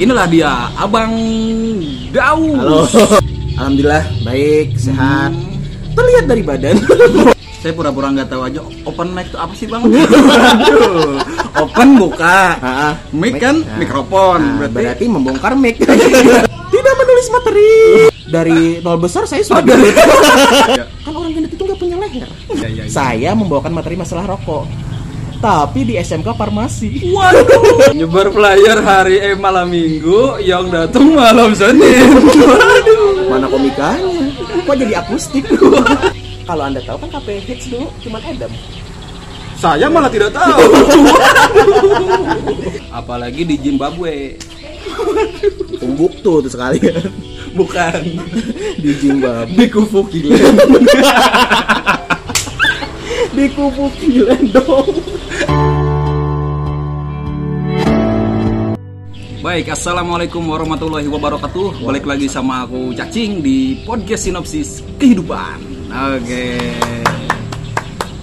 Inilah dia, Abang Daus. Halo. Alhamdulillah baik, sehat. Terlihat dari badan. Saya pura-pura nggak tahu aja open mic itu apa sih bang? open buka, Ah, ah. mic kan Ah. mikrofon, Nah, berarti, berarti membongkar mic. Tidak menulis materi. Dari nol besar saya sudah. Ya, kan orang gendut itu nggak punya leher. ya, ya, ya. Saya membawakan materi masalah rokok. Tapi di SMK farmasi. Waduh. Nyebar flyer hari eh malam minggu yang datang malam Senin. Waduh. Mana komikanya? Kok jadi akustik? Kalau anda tahu kan KP Hits dulu cuma Adam. Saya malah tidak tahu. Apalagi di Zimbabwe, Timbuktu tuh sekali. bukan di Zimbabwe. di Kufu Kile. di kubu dong Baik, assalamualaikum warahmatullahi wabarakatuh. Balik lagi sama aku Cacing di podcast sinopsis kehidupan. Oke.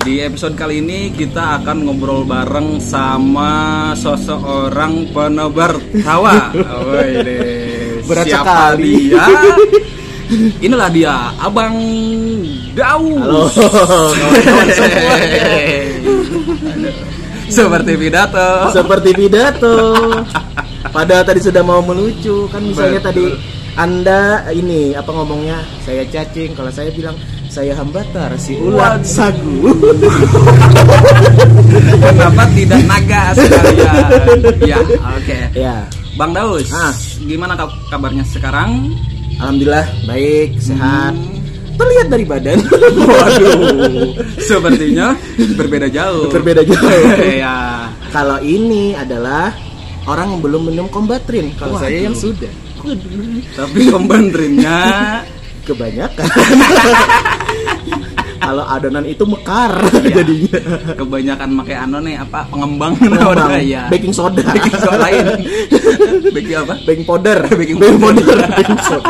Di episode kali ini kita akan ngobrol bareng sama seseorang penebar tawa. Woi deh. Berat Siapa sekali. dia? Inilah dia, Abang Daus. Seperti pidato. seperti pidato padahal tadi sudah mau melucu kan misalnya tadi anda ini apa ngomongnya saya cacing kalau saya bilang saya hambatar si ulat Waduh. sagu Kenapa tidak naga sekalian? Ya, oke. ya Bang Daus, Ah. gimana ka- kabarnya sekarang? alhamdulillah baik sehat terlihat dari badan Waduh, sepertinya berbeda jauh. Berbeda jauh. ya. kalau ini adalah orang yang belum minum kombatrin kalau saya Waduh. yang sudah Tapi pembandringnya kebanyakan kalau adonan itu mekar jadinya kebanyakan pakai anu nih apa pengembang Pengembang. Waduh, ya. Baking soda. Baking soda lain. Baking apa? baking powder Baking powder. powder baking soda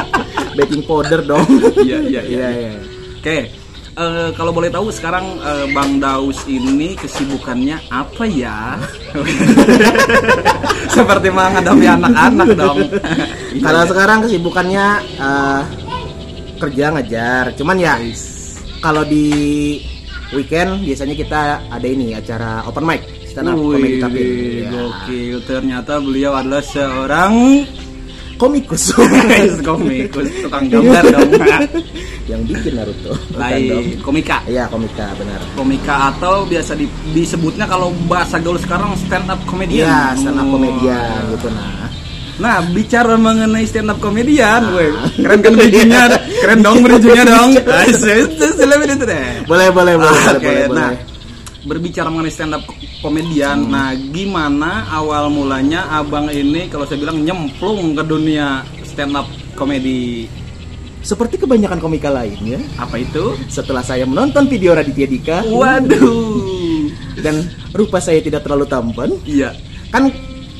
baking powder dong Iya, iya, iya. iya. Oke. eh, kalau boleh tahu sekarang eh, Bang Daus ini kesibukannya apa ya? Seperti menghadapi anak-anak dong. Iya. kalau sekarang kesibukannya eh, kerja ngajar cuman ya kalau di weekend biasanya kita ada ini acara open mic stand up comedy Wih, tapi ya. gokil. Ternyata beliau adalah seorang komikus komikus Iya. tukang gambar dong. yang bikin Naruto Bukan dong. Baik, komika. iya komika benar Komika atau biasa di- disebutnya kalau bahasa gaul sekarang stand up comedian. iya stand up Oh. komedian gitu nah Nah, bicara mengenai stand up Ah. komedian, weh. Keren kan bridgingnya? Keren dong bridgingnya dong. Asik, itu selebriti itu deh. Iya. boleh boleh boleh Ah, Oke, boleh, boleh, Hmm. nah. boleh. Berbicara mengenai stand up komedian, nah gimana awal mulanya abang ini kalau saya bilang nyemplung ke dunia stand up komedi seperti kebanyakan komika lainnya apa itu? setelah saya menonton video Raditya Dika Waduh. dan rupa saya tidak terlalu tampan Iya, kan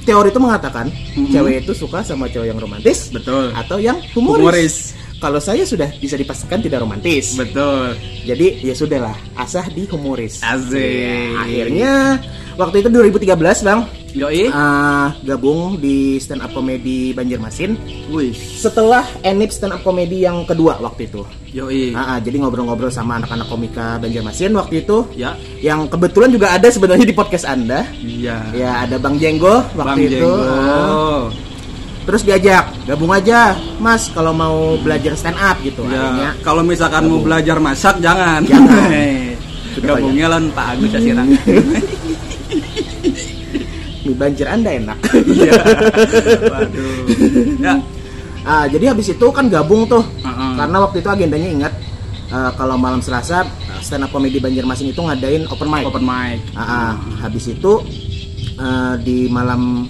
teori itu mengatakan Mhm. cewek itu suka sama cowok yang romantis betul. atau yang humoris. Humoris. Kalau saya sudah bisa dipastikan tidak romantis. Betul. Jadi ya sudahlah, asah di humoris. Asik. Ya, akhirnya waktu itu 2013, Bang, Yoi. ah, gabung di stand up comedy Banjarmasin Wih. setelah Enip stand up comedy yang kedua waktu itu. Yoi. Ah, ah, jadi ngobrol-ngobrol sama anak-anak komika Banjarmasin waktu itu Ya. yang kebetulan juga ada sebenarnya di podcast Anda. Iya. Ya, ada Bang Jenggo waktu Bang itu. Jenggo. Ah, terus diajak, gabung aja, Mas kalau mau belajar stand up gitu. Akhirnya Ya, kalau misalkan mau belajar masak jangan. Jangan. Sudah Gabungnya lan Pak Agus Asirang. mie banjir Anda enak. Iya. Waduh. Ya. Ah, jadi habis itu kan gabung tuh. Heeh. Karena waktu itu agendanya ingat eh, kalau malam Selasa stand up comedy Banjarmasin itu ngadain open mic. Open mic. Ah, ah, habis itu eh, di malam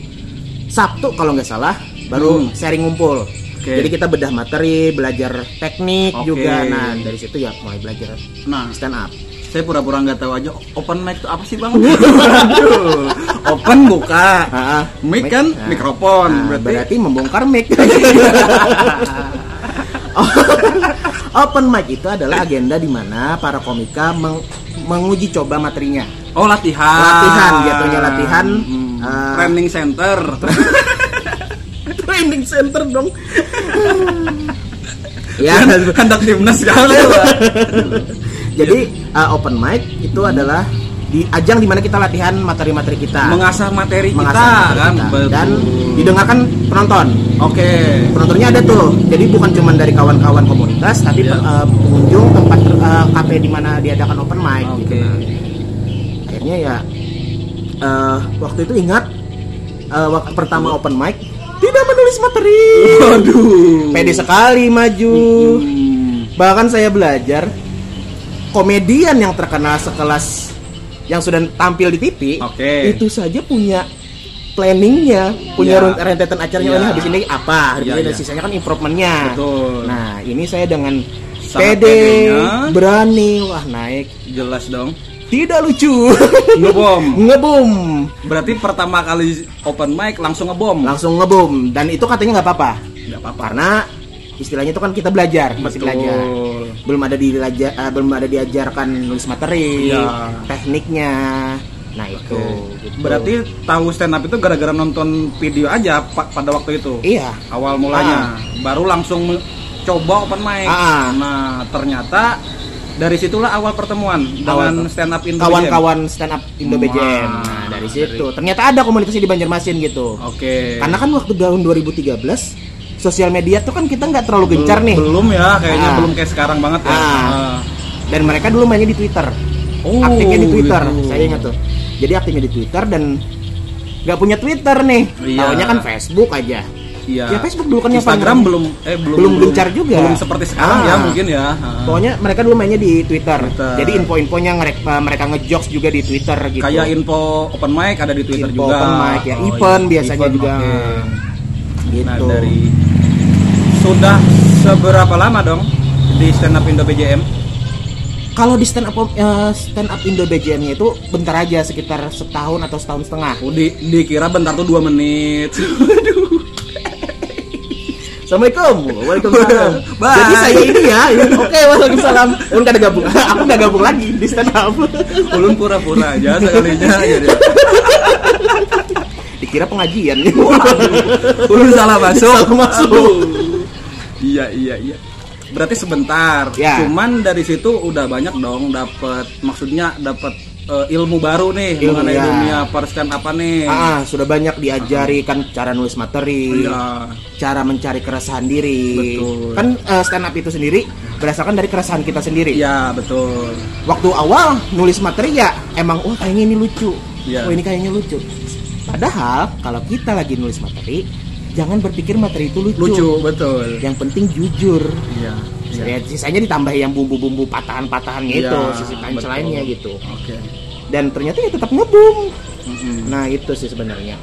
Sabtu kalau nggak salah baru Hmm. sharing ngumpul. Oke. Jadi kita bedah materi, belajar teknik Oke. juga. Nah dari situ ya mulai belajar Nah, stand up. saya pura-pura nggak tahu aja open mic itu apa sih, Bang? open buka. Ah, ah. Mic kan ah. mikrofon, Ah, berarti- membongkar mic. Oh, Open mic itu adalah agenda di mana para komika meng- menguji coba materinya. Oh, latihan. Latihan, jatuhnya latihan. Hmm. gitu, ya, Ah. Training center. training center dong. ya, Ya, hendak timnas kali. jadi Iya. uh, open mic itu Hmm. adalah di ajang dimana kita latihan materi-materi kita. Mengasah materi kita Mengasah materi kan. kita. Betul. dan didengarkan penonton. Oke. Penontonnya ada tuh. Jadi bukan cuma dari kawan-kawan komunitas, tapi Iya. uh, pengunjung tempat uh, kafe di mana diadakan open mic. gitu. Oke. akhirnya ya eh, waktu itu ingat eh, waktu Iya. pertama open mic tidak menulis materi Waduh. pede sekali maju Hmm. bahkan saya belajar komedian yang terkenal sekelas yang sudah tampil di TV Oke. itu saja punya planningnya punya Iya. run- rentetan acaranya Iya. ini habis ini apa habis Iya, ini ada iya. sisanya kan improvementnya Betul. nah ini saya dengan Sangat pede pedenya. berani wah naik Jelas dong. tidak lucu Ngebom. ngebom Berarti pertama kali open mic langsung ngebom. langsung ngebom dan itu katanya nggak apa-apa Enggak apa-apa. karena istilahnya itu kan kita belajar masih belajar Betul. belum ada dilajar eh, belum ada diajarkan nulis materi Iya. tekniknya nah itu gitu. Berarti tahu stand up itu gara-gara nonton video aja pa- pada waktu itu. iya Awal mulanya baru langsung me- coba open mic. Ah. Nah, ternyata dari situlah awal pertemuan dengan stand up Indo BJM. kawan-kawan stand up Indo Wah, BJM nah, dari situ ternyata ada komunitasnya di Banjarmasin gitu Oke. karena kan waktu tahun 2013 sosial media tuh kan kita nggak terlalu gencar nih Belum ya, kayaknya Ah. belum kayak sekarang banget ya. Ah. Ah. dan mereka dulu mainnya di Twitter. Oh, aktifnya di Twitter, gitu. saya ingat tuh. Jadi aktifnya di Twitter dan nggak punya Twitter nih. Iya. Taunya kan Facebook aja. Iya. Ya, Facebook dulu kan yang Instagram paling- belum eh belum belum gencar juga. Belum seperti sekarang Ah. ya mungkin ya. Ah. Pokoknya mereka dulu mainnya di Twitter. Twitter. Jadi info-infonya mereka mereka ngejokes juga di Twitter gitu. Kayak info open mic ada di Twitter Info juga. open mic ya, Oh, event iya. biasanya Event, juga. oke. gitu. Nah, dari sudah seberapa lama dong di stand up Indo BJM? Kalau di stand up eh, stand up Indo BJM-nya itu bentar aja sekitar setahun atau setahun setengah. Oh, di, dikira bentar tuh 2 menit. Assalamualaikum. Waalaikumsalam. Bye. Jadi saya ini ya. ini- Oke, waalaikumsalam. Ulun kada gabung. Aku nggak gabung lagi di stand up. Ulun pura-pura aja sekalinya gitu. jadi. Dikira pengajian. Ulun salah masuk. Salah masuk. Aduh. Iya, iya, iya. Berarti sebentar. Ya. Cuman dari situ udah banyak dong dapat maksudnya dapat eh, ilmu baru nih Ilmu, mengenai ya. dunia per stand apa nih. Ah, sudah banyak diajari kan cara nulis materi, Iya. cara mencari keresahan diri. Betul. Kan eh, stand up itu sendiri berdasarkan dari keresahan kita sendiri. Iya, betul. Waktu awal nulis materi ya emang wah kayaknya ini lucu. Iya. Oh, ini kayaknya lucu. Padahal kalau kita lagi nulis materi, jangan berpikir materi itu Lucu, betul. Yang penting jujur. Iya. iya. Ya, sisanya ditambah yang bumbu-bumbu patahan-patahannya Iya, itu, sisi punchline-nya betul. gitu. Oke. Dan ternyata ya tetap ngebum. Mm-mm. Nah, itu sih sebenarnya.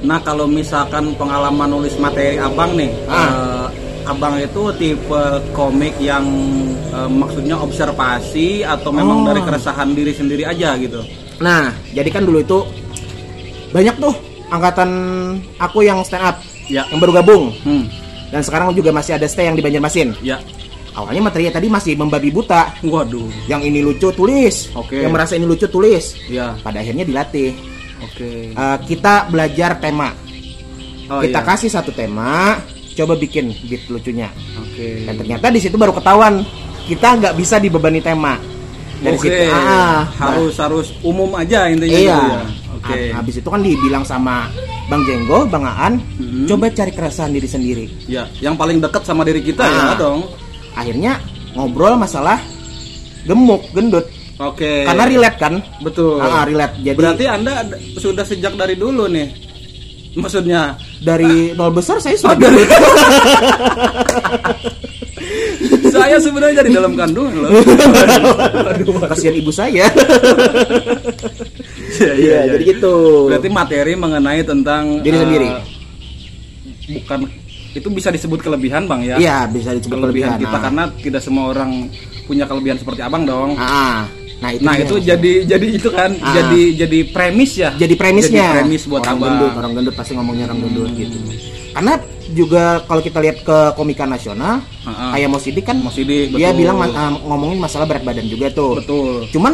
Nah kalau misalkan pengalaman nulis materi abang nih, Ah. eh, abang itu tipe komik yang eh, maksudnya observasi atau memang Oh. dari keresahan diri sendiri aja gitu? Nah, jadi kan dulu itu banyak tuh angkatan aku yang stand up, Ya. yang baru gabung. Hmm, Dan sekarang juga masih ada stay yang di Banjarmasin. ya. Awalnya materinya tadi masih membabi buta. Waduh. Yang ini lucu tulis, Oke. yang merasa ini lucu tulis. Ya. Pada akhirnya dilatih. Oke. Eh, kita belajar tema. Oh, kita iya. kasih satu tema, coba bikin beat lucunya. Oke. Dan ternyata di situ baru ketahuan kita nggak bisa dibebani tema. Dari Oke. situ ah, harus harus umum aja bah- intinya. iya. gitu ya. Oke. Oke. Habis itu kan dibilang sama Bang Jenggo, Bang Aan, Mhm. coba cari keresahan diri sendiri. Ya, yang paling dekat sama diri kita ya Ah. dong. Akhirnya ngobrol masalah gemuk, gendut. Oke. Karena relate kan? Betul. Ah, relate. Jadi Berarti Anda ad- sudah sejak dari dulu nih. Maksudnya dari nol besar saya sudah saya sebenarnya dari dalam kandungan loh. kasihan ibu saya. Iya, iya, jadi iya. gitu. Berarti materi mengenai tentang Diri eh, sendiri. bukan itu bisa disebut kelebihan, Bang ya. Iya, bisa disebut kelebihan, kita kan. ah. karena tidak semua orang punya kelebihan seperti Abang dong. Ah, nah itu nah, dia. itu jadi jadi itu kan Ah. jadi jadi premis ya. jadi premisnya Jadi premis buat orang Abang. gendut orang gendut pasti ngomongnya orang gendut gitu karena juga kalau kita lihat ke komika nasional Ha-ha. kayak Mo Sidik kan Mo Sidik, dia betul. bilang ma- ah, ngomongin masalah berat badan juga tuh Betul. cuman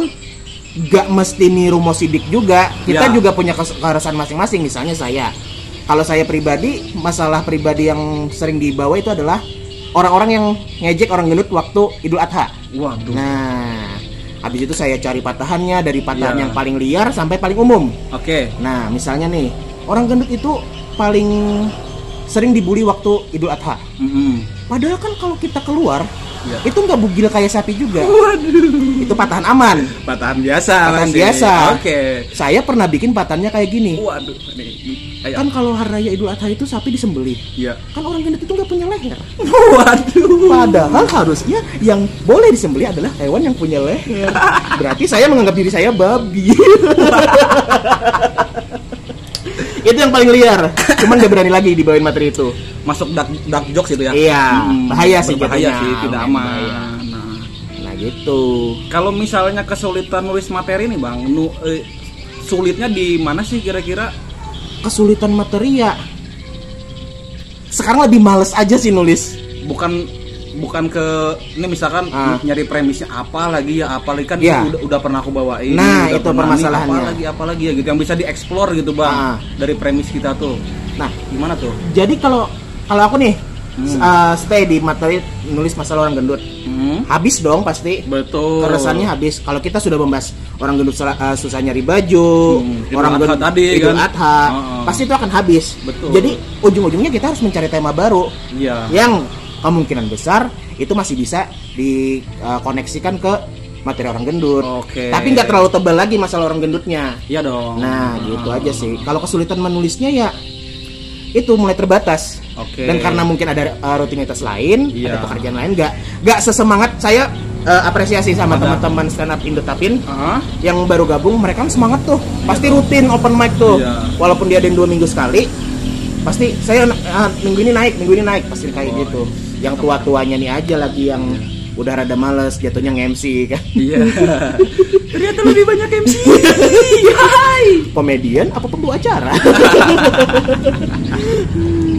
gak mesti niru Mo Sidik juga Ya. kita juga punya kes- keresahan masing-masing misalnya saya kalau saya pribadi masalah pribadi yang sering dibawa itu adalah orang-orang yang ngejek orang gendut waktu Idul Adha. Waduh. Nah, habis itu saya cari patahannya dari patahan Iya. yang paling liar sampai paling umum. Oke. Nah, misalnya nih, orang gendut itu paling sering dibully waktu Idul Adha. Mm-mm. Padahal kan kalau kita keluar, Iya. itu nggak bugil kayak sapi juga. Itu patahan aman. Patahan biasa. Patahan masih. biasa. Oke. Saya pernah bikin patahannya kayak gini. Waduh. Nih, ayo. Kan kalau hari raya Idul Adha itu sapi disembelih. Iya. Kan orang gendut itu nggak punya leher. Hmm. Waduh. Padahal harusnya yang boleh disembelih adalah hewan yang punya leher. Berarti saya menganggap diri saya babi. itu yang paling liar. Cuman gak berani lagi dibawain materi itu. Masuk dark, dark jokes itu ya? Iya, bahaya sih Bahaya jatuhnya. sih, tidak Lumayan aman. bahaya. Nah, Nah gitu. kalau misalnya kesulitan nulis materi nih bang, nu, eh, sulitnya di mana sih kira-kira? Kesulitan materi ya. Sekarang lebih males aja sih nulis. Bukan bukan ke ini misalkan Ah. nyari premisnya apa lagi ya apa lagi kan Iya. itu udah, udah pernah aku bawain udah pernah Nah, itu nih, permasalahannya. apa lagi apa lagi ya gitu yang bisa dieksplor gitu bang Ah. dari premis kita tuh Nah, gimana tuh jadi kalau kalau aku nih s- uh, stay di materi nulis masalah orang gendut. Hmm, Habis dong pasti. betul Keresannya habis. Kalau kita sudah membahas orang gendut sel- uh, susah nyari baju, Hmm, Idul orang Adha gendut tadi, Idul kan? Adha, Heeh. pasti itu akan habis. Betul. Jadi ujung-ujungnya kita harus mencari tema baru iya yang kemungkinan besar itu masih bisa dikoneksikan ke materi orang gendut. Oke. Tapi nggak terlalu tebal lagi masalah orang gendutnya. iya dong Nah, gitu aja sih. Kalau kesulitan menulisnya ya itu mulai terbatas. Oke. Dan karena mungkin ada uh, rutinitas lain, Iya. ada pekerjaan lain, nggak nggak sesemangat saya uh, apresiasi sama Ada. teman-teman stand up Indotapin Ah, yang baru gabung, mereka kan semangat tuh. Pasti rutin open mic tuh. Iya. Walaupun dia ada yang dua minggu sekali, pasti saya uh, minggu ini naik, minggu ini naik, pasti kayak Oh, gitu. Yang tua-tuanya nih aja lagi yang udah rada males jatuhnya nge-MC kan. iya ternyata lebih banyak MC Iya. Hai. Komedian apa pembawa acara?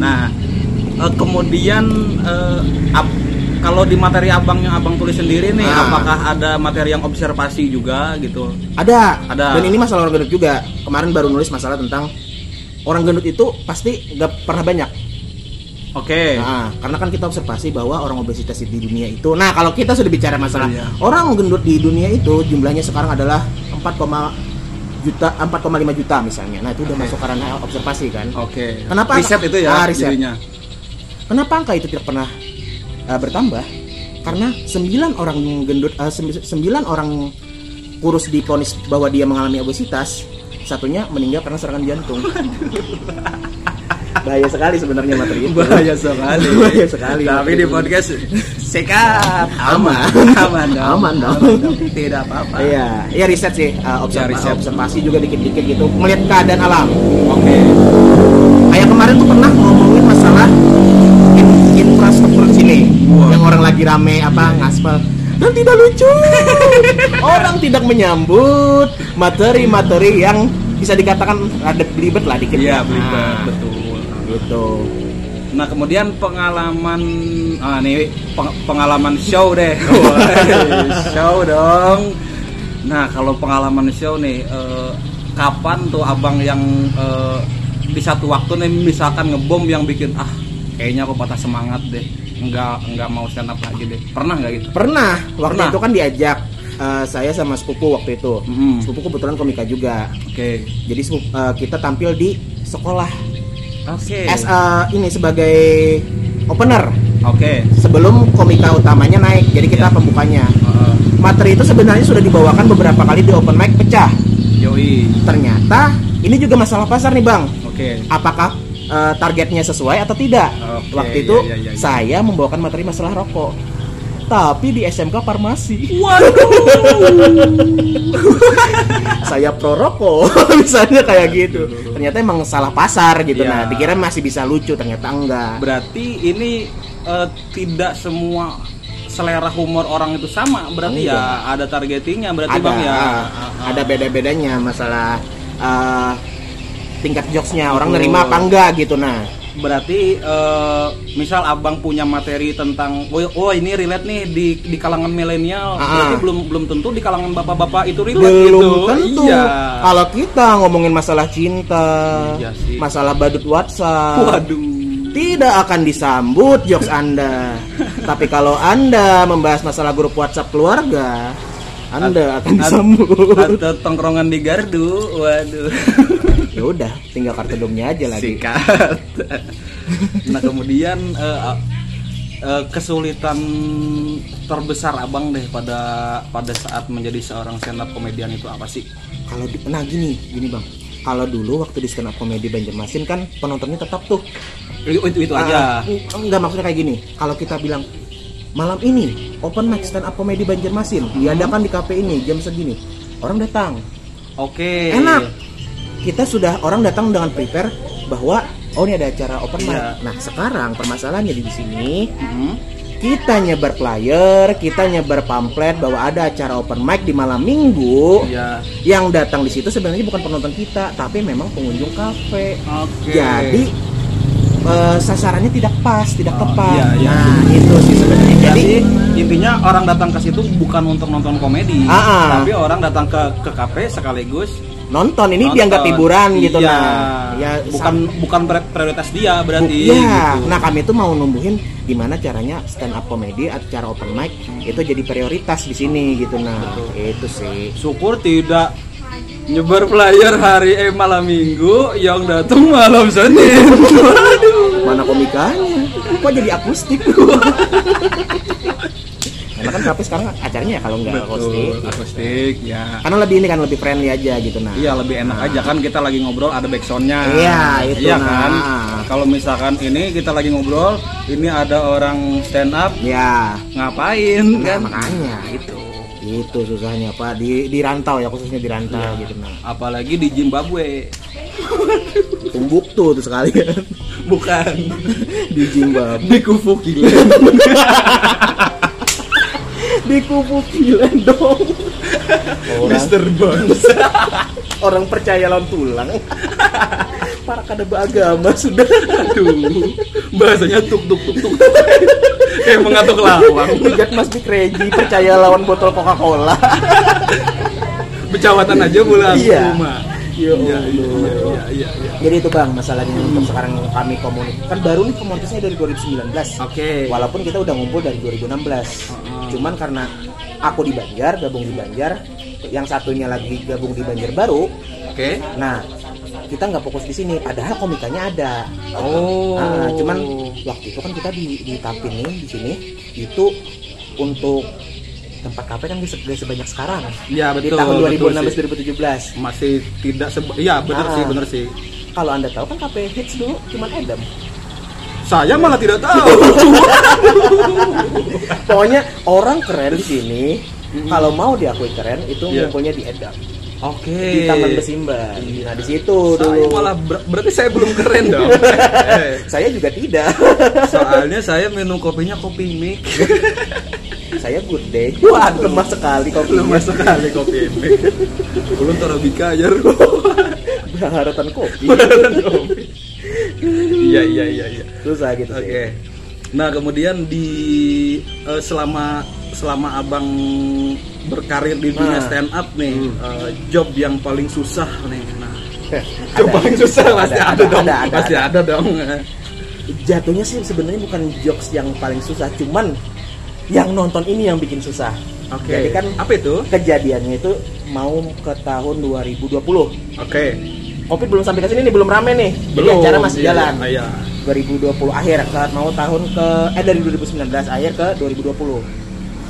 Nah, eh, kemudian eh, ap- kalau di materi abang yang abang tulis sendiri nih, Ah. apakah ada materi yang observasi juga gitu? Ada. Ada. Dan ini masalah orang gendut juga. Kemarin baru nulis masalah tentang orang gendut itu pasti nggak pernah banyak. Oke. Nah, karena kan kita observasi bahwa orang obesitas di dunia itu. Nah, kalau kita sudah bicara masalah Iya. orang gendut di dunia itu jumlahnya sekarang adalah 4, juta 4,5 juta misalnya. Nah, itu udah masuk karena observasi kan. Oke. Kenapa- riset itu ya Ah, riset. jadinya? Kenapa angka itu tidak pernah eh, bertambah? Karena 9 orang gendut eh, sem- sembilan orang kurus diponis bahwa dia mengalami obesitas, satunya meninggal karena serangan jantung. Bahaya sekali sebenarnya materi itu. Bahaya Iya, sekali. Bahaya sekali. Tapi di podcast sekat Aman. aman dong. Aman dong. Tidak apa-apa. Iya, iya riset sih, eh, Iya, observa- riset. observasi juga dikit-dikit gitu, melihat keadaan alam. Oke. Kayak kemarin tuh pernah ngomongin masalah in- infrastruktur di sini, Wah. Iya. yang orang lagi rame apa ngaspal dan tidak lucu. orang tidak menyambut materi-materi yang bisa dikatakan ada belibet lah dikit. Iya, Nah, belibet betul. Gitu. Nah, kemudian pengalaman ah nih peng- pengalaman show deh. show dong. Nah, kalau pengalaman show nih eh, kapan tuh Abang yang eh, di satu waktu nih misalkan ngebom yang bikin ah kayaknya aku patah semangat deh. Enggak enggak mau stand up lagi deh. Pernah nggak gitu? Pernah waktu Pernah. itu kan diajak eh, saya sama sepupu waktu itu. Mm-mm. Sepupu kebetulan komika juga. Oke. Jadi sepupu- eh, kita tampil di sekolah Oke. as a- ini sebagai opener Oke. sebelum komika utamanya naik jadi kita Iya. pembukanya Heeh. materi itu sebenarnya sudah dibawakan beberapa kali di open mic pecah Yoi. ternyata ini juga masalah pasar nih bang Oke. apakah eh, targetnya sesuai atau tidak Oke, waktu iya, itu iya, iya, iya. saya membawakan materi masalah rokok tapi di SMK Iya. farmasi saya pro rokok misalnya kayak gitu ternyata emang salah pasar gitu nah Iya. dikira masih bisa lucu ternyata enggak Berarti ini eh, tidak semua selera humor orang itu sama. Berarti Enggak. ya ada targetingnya berarti ada Ah, Bang ya. ada beda-bedanya masalah eh, tingkat jokesnya orang Betul. nerima apa enggak gitu nah berarti eh, misal abang punya materi tentang oh, oh, ini relate nih di di kalangan milenial Ah, berarti ah. belum belum tentu di kalangan bapak-bapak itu relate belum gitu tentu Ah. iya kalau kita ngomongin masalah cinta Iya sih. masalah badut WhatsApp waduh tidak akan disambut jokes anda tapi kalau anda membahas masalah grup WhatsApp keluarga anda akan disambut atau tongkrongan di gardu waduh ya udah tinggal kartu domnya aja lagi sikat nah kemudian eh, a- eh, kesulitan terbesar abang deh pada pada saat menjadi seorang stand up komedian itu apa sih kalau di- nah gini gini bang kalau dulu waktu di stand up comedy Banjarmasin kan penontonnya tetap tuh itu itu, itu aja Ah, enggak maksudnya kayak gini. Kalau kita bilang malam ini open mic stand up comedy Banjarmasin diadakan di kafe ini jam segini. Orang datang. oke Enak. Kita sudah orang datang dengan prepare bahwa oh ini ada acara open mic. Iya. Nah, sekarang permasalahannya di sini Mhm. kita nyebar flyer, kita nyebar pamflet bahwa ada acara open mic di malam Minggu. Iya. Yang datang di situ sebenarnya bukan penonton kita, tapi memang pengunjung kafe. Oke. Jadi eh, sasarannya tidak pas, tidak tepat. iya, iya. Nah, itu sih sebenarnya. Jadi Jadi intinya orang datang ke situ bukan untuk nonton komedi, Ah, ah. tapi orang datang ke ke kafe sekaligus nonton ini nonton. dianggap hiburan gitu Iya. nah. Ya bukan bukan pri- prioritas dia sam- berarti. ya. gitu. Nah, kami tuh mau numbuhin gimana caranya stand up comedy atau cara open mic itu jadi prioritas di sini gitu nah. Itu sih. Syukur tidak nyebar flyer hari eh malam minggu yang datang malam Senin. Waduh. Mana komikanya? Kok jadi akustik? Karena kan tapi sekarang acaranya ya kalau nggak akustik. Betul, akustik ya. Karena lebih ini kan lebih friendly aja gitu nah. Iya lebih enak aja kan kita lagi ngobrol ada backsoundnya. Iya, itu Iya nah. kan. Kalau misalkan ini kita lagi ngobrol, ini ada orang stand up Ya. ngapain Nah, kan? makanya itu itu Gitu susahnya pak di di rantau ya khususnya di rantau Iya. gitu nah Apalagi di Zimbabwe tumbuk tuh tuh sekalian bukan di Zimbabwe di Kufuki. di kupu dong orang Mister Bones. orang percaya lawan tulang para kadaba agama sudah Aduh, bahasanya tuk tuk tuk tuk. Kayak mengatuk lawang. Hujat Mas Bikreji percaya lawan botol Coca-Cola Becawatan aja pulang Iya. rumah. Yo, Iya, iya, Allah. iya, iya, iya. Jadi itu bang masalahnya untuk sekarang kami komunitas kan baru nih komunitasnya dari 2019. Oke. Walaupun kita udah ngumpul dari 2016. Cuman karena aku di Banjar, gabung di Banjar, yang satunya lagi gabung di Banjar baru. Oke. Nah, kita nggak fokus di sini. Padahal komikanya ada. Oh. Nah, cuman waktu itu kan kita di di Tampin nih, di sini itu untuk tempat kafe kan nggak se- nggak sebanyak sekarang. Iya, Di betul, tahun betul 2016 sih. 2017 masih tidak seba ya bener Ah. sih bener sih kalau anda tahu kan KP hits dulu cuman Adam saya malah tidak tahu pokoknya orang keren di sini kalau mau diakui keren itu Iya. ngumpulnya di Adam oke di Taman Besimba nah di situ Eh. Iya. saya dulu malah ber- berarti saya belum keren dong Eh, saya juga tidak soalnya saya minum kopinya kopi mik Iya. saya good day wah lemah sekali kau lemah sekali kopi mik belum torabika aja Ron. berharatan kopi iya iya iya iya susah gitu oke sih nah kemudian di eh, selama selama abang berkarir di dunia Nah. stand up nih eh, job yang paling susah nih nah Ada. Job paling susah pasti ada, dong ya. ada, ada, pasti ada. ada dong jatuhnya sih sebenarnya bukan jokes yang paling susah cuman yang nonton ini yang bikin susah Oke. jadi kan apa itu? kejadiannya itu mau ke tahun 2020 Oke. Covid belum sampai ke sini nih, belum rame nih. Jadi Belum. acara masih Iya, jalan. Iya. 2020 akhir saat mau tahun ke eh dari 2019 akhir ke 2020.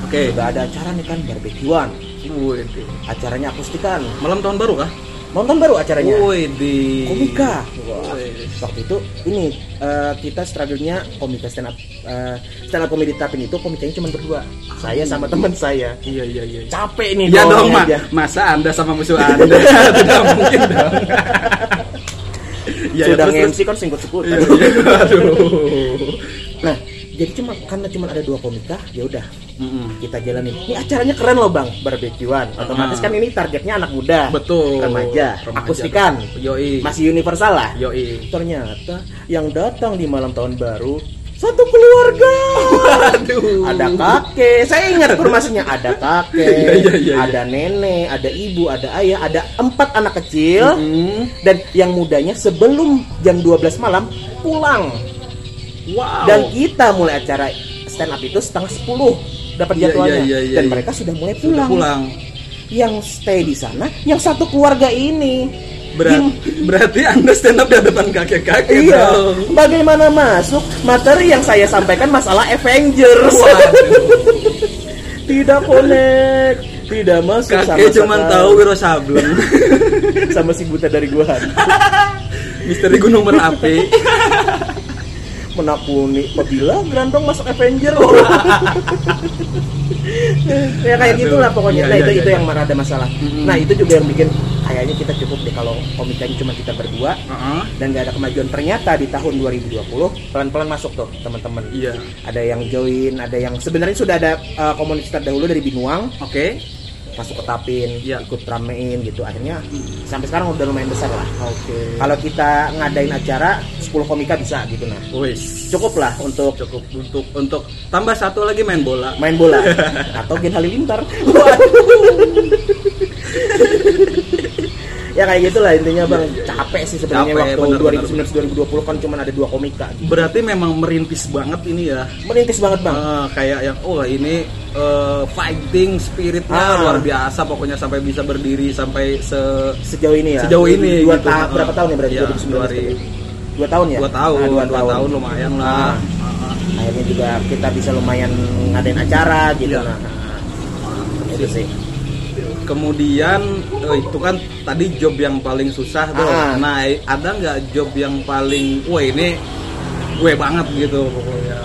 Oke. Udah ada acara nih kan barbekyuan. Wih. Acaranya akustikan. Malam tahun baru kah? Nonton baru acaranya. Wih. Di... Komika. Wah. Wih. Waktu itu ini eh, kita struggle-nya komika stand up eh, stand up comedy tapin itu komikanya cuma berdua. Saya sama teman saya. Iya iya iya. Capek nih Ya dong, Iya. doangnya Ma. aja. Masa Anda sama musuh Anda? Tidak mungkin dong. Iya, iya, Sudah terus, nge-MC kan singkut-singkut. terus. Iya, iya. Aduh. Nah, jadi jadi cuma karena cuma ada dua komika ya udah Mm-mm. kita jalanin ini acaranya keren loh bang barbekyuan otomatis kan ini targetnya anak Ah. muda Betul. remaja, Remaja. akustikan Yoi. masih universal lah Yoi. ternyata yang datang di malam tahun baru satu keluarga Aduh. ada kakek saya ingat formasinya ada kakek Iya, iya, iya, ada nenek ada ibu ada ayah ada empat anak kecil Mm. dan yang mudanya sebelum jam 12 malam pulang Wow. dan kita mulai acara stand up itu setengah 10 dapat Iya, jadwalnya iya, iya, iya, dan iya. mereka sudah mulai sudah pulang. pulang. yang stay di sana yang satu keluarga ini Berat, Gim- berarti Anda stand up di hadapan kakek-kakek Iya, dong. bagaimana masuk materi yang saya sampaikan masalah Avengers? Waduh, tidak connect, tidak masuk kakek sama cuma sekali. tahu Wiro Sableng, sama si buta dari gua misteri gunung merapi. menakuni apabila Grandong masuk Avengers. ya kayak Aduh, gitulah pokoknya. iya, nah iya, itu iya, itu iya. yang marah ada masalah. Mm-mm. Nah itu juga yang bikin kayaknya kita cukup deh kalau komikanya cuma kita berdua Heeh. dan gak ada kemajuan ternyata di tahun 2020 pelan-pelan masuk tuh teman-teman Iya. ada yang join ada yang sebenarnya sudah ada uh, komunitas terdahulu dari Binuang Oke. masuk ke Tapin Iya. ikut ramein gitu akhirnya sampai sekarang udah lumayan besar lah Oke. kalau kita ngadain acara 10 komika bisa gitu nah Wis. cukup lah untuk Cukup untuk untuk tambah satu lagi main bola. main bola atau Gen Halilintar ya kayak gitulah intinya bang capek sih sebenarnya Iya, Capek, bener, bener, waktu 2019-2020 kan cuma ada dua komika gitu. Berarti memang merintis banget ini ya. merintis banget bang Eh, kayak yang oh ini eh, fighting spiritnya Ah. luar biasa pokoknya sampai bisa berdiri sampai se sejauh ini ya Sejauh ini, dua gitu. ta- berapa tahun ya berarti Iya, 2019 dari- dua tahun ya dua tahun, Nah, dua tahun. lumayan lah. Ah. Ah, akhirnya juga kita bisa lumayan ngadain acara gitu Iya. nah itu sih Kemudian eh, itu kan tadi job yang paling susah tuh. Ah. Nah, i- ada nggak job yang paling wah ini gue banget gitu pokoknya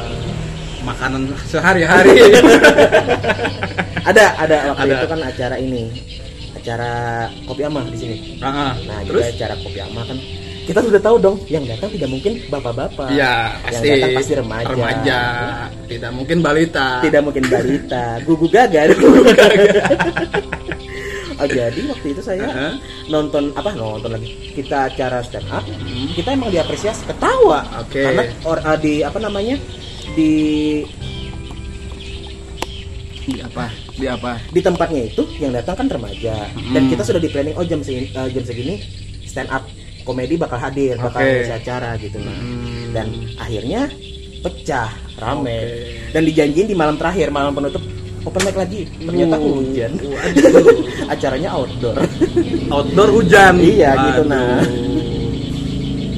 makanan sehari-hari. ada ada waktu Ada. itu kan acara ini acara kopi amah di sini Ah, ah. nah terus juga acara kopi amah kan kita sudah tahu dong yang datang tidak mungkin bapak-bapak ya pasti, yang datang pasti remaja remaja. Tidak mungkin balita. tidak mungkin balita gugu gagal Oh, jadi waktu itu saya Aha. nonton apa nonton lagi kita acara stand up kita emang diapresiasi ketawa Hmm. Oke. karena or, eh, di apa namanya di Di apa? Di apa? di tempatnya itu yang datang kan remaja dan Hmm. kita sudah di planning oh jam segini, eh, jam segini stand up komedi bakal hadir bakal Oke. ngisi acara gitu nah Hmm. dan akhirnya pecah rame Oke. dan dijanjiin di malam terakhir malam penutup open mic lagi ternyata Uh, hujan waduh. acaranya outdoor outdoor hujan Iya, gitu, nah.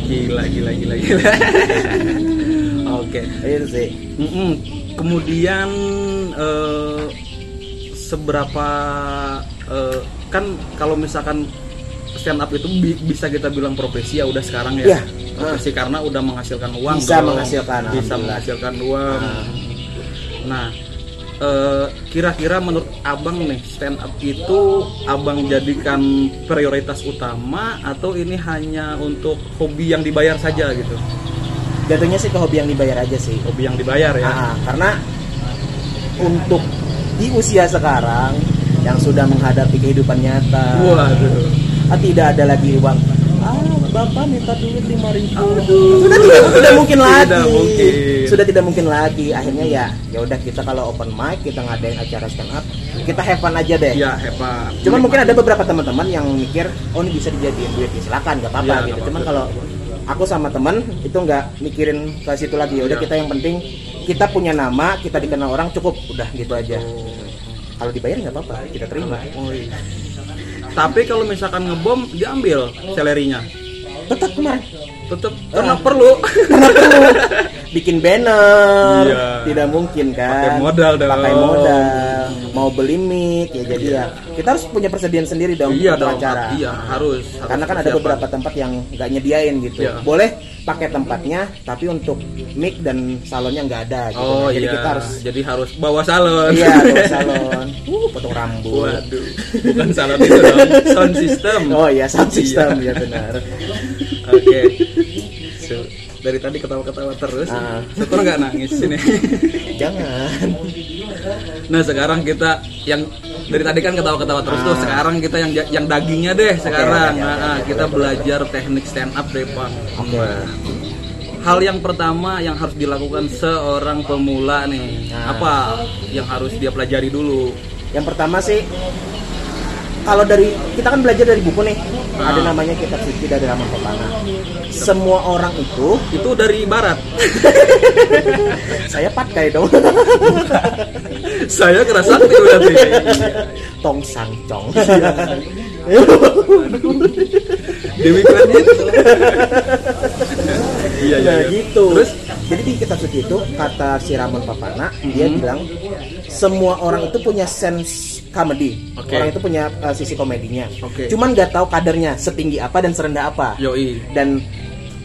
gila gila gila gila oke itu Gitu sih Mm-mm. kemudian eh, seberapa eh, kan kalau misalkan stand up itu bi- bisa kita bilang profesi ya udah sekarang ya Iya. profesi karena udah menghasilkan uang Bisa dong. menghasilkan, bisa alhamdulillah. Ah. menghasilkan uang nah eh, kira-kira menurut abang nih stand up itu abang jadikan prioritas utama atau ini hanya untuk hobi yang dibayar saja gitu jatuhnya sih ke hobi yang dibayar aja sih hobi yang dibayar ya Ah, karena untuk di usia sekarang yang sudah menghadapi kehidupan nyata waduh ah, tidak ada lagi uang ah bapak minta duit lima ribu sudah tidak, tidak mungkin lagi Tidak mungkin. sudah tidak mungkin lagi akhirnya ya ya udah kita kalau open mic kita ngadain acara stand up kita have fun aja deh Ya hebat. cuman mungkin ada beberapa teman-teman yang mikir oh ini bisa dijadiin duit ya silakan nggak apa-apa Iya, nggak gitu apa-apa. cuman kalau aku sama teman itu nggak mikirin ke situ lagi ya udah Iya. kita yang penting kita punya nama kita dikenal orang cukup udah gitu aja kalau dibayar nggak apa-apa kita terima Oh, iya. Tapi kalau misalkan ngebom diambil selerinya. tetap kemarin Tetap karena perlu. bikin banner Iya. tidak mungkin kan Pakai modal dong. pakai modal mau beli mic ya jadi ya kita harus punya persediaan sendiri dong iya untuk dong. acara Iya, harus. harus karena kan ada persiapan. beberapa tempat yang nggak nyediain gitu Iya. boleh pakai tempatnya tapi untuk mic dan salonnya nggak ada gitu Oh jadi iya. kita harus Jadi harus bawa salon. iya bawa salon uh potong rambut Waduh. Bukan salon itu dong. iya, Sound system. oh iya sound system Iya. ya benar Oke. So, dari tadi ketawa-ketawa terus. Ah. Syukur nggak nangis sini. Jangan. Nah sekarang kita yang dari tadi kan ketawa-ketawa terus tuh. Ah. Sekarang kita yang yang dagingnya deh sekarang. oke, oke, Nah, oke. kita belajar teknik stand up deh Pak. Oke. Hal yang pertama yang harus dilakukan seorang pemula nih Nah. apa yang harus dia pelajari dulu? Yang pertama sih kalau dari kita kan belajar dari buku nih. Ah. Ada namanya kitab suci dari Ramah Kotana. Semua orang itu Itu dari barat. saya pakai dong. Saya kerasa sakti berarti. Iya. Tong sangcong. Dewi Kredit. Iya iya. Ya iya. gitu. Terus jadi di kitab suci itu kata si Ramon Papana dia Hmm. bilang semua orang itu punya sense comedy. Oke. Orang itu punya uh, sisi komedinya. Oke. Iya, Cuman nggak tahu kadarnya setinggi apa dan serendah apa. Yoi. dan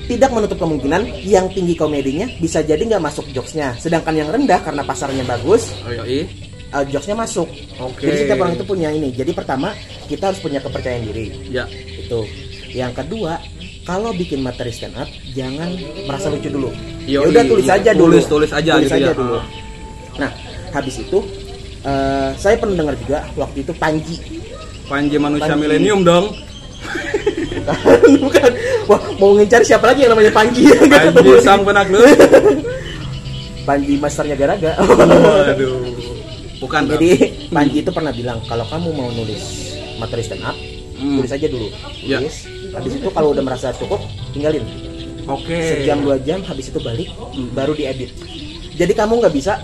tidak menutup kemungkinan yang tinggi komedinya bisa jadi nggak masuk jokesnya sedangkan yang rendah karena pasarnya bagus Oh, Yoi. eh, jokesnya masuk Oke. jadi setiap orang itu punya ini jadi pertama kita harus punya kepercayaan diri Ya. itu yang kedua kalau bikin materi stand up jangan merasa lucu dulu Yoi. ya udah tulis aja dulu Tulis- tulis aja Tulis gitu ya. dulu Ah. nah habis itu eh, saya pernah dengar juga waktu itu Panji Panji manusia Panji. milenium dong. bukan wah mau ngejar siapa lagi yang namanya Panji Panji sang penakluk. Panji masternya garaga Hmm. Waduh. Bukan. Rob. Jadi Panji itu pernah bilang kalau kamu mau nulis materi stand up, Hmm. tulis aja dulu. Ya. Tulis. Habis itu kalau udah merasa cukup, tinggalin. Oke. Sejam dua jam, habis itu balik, Hmm. baru diedit. Jadi kamu nggak bisa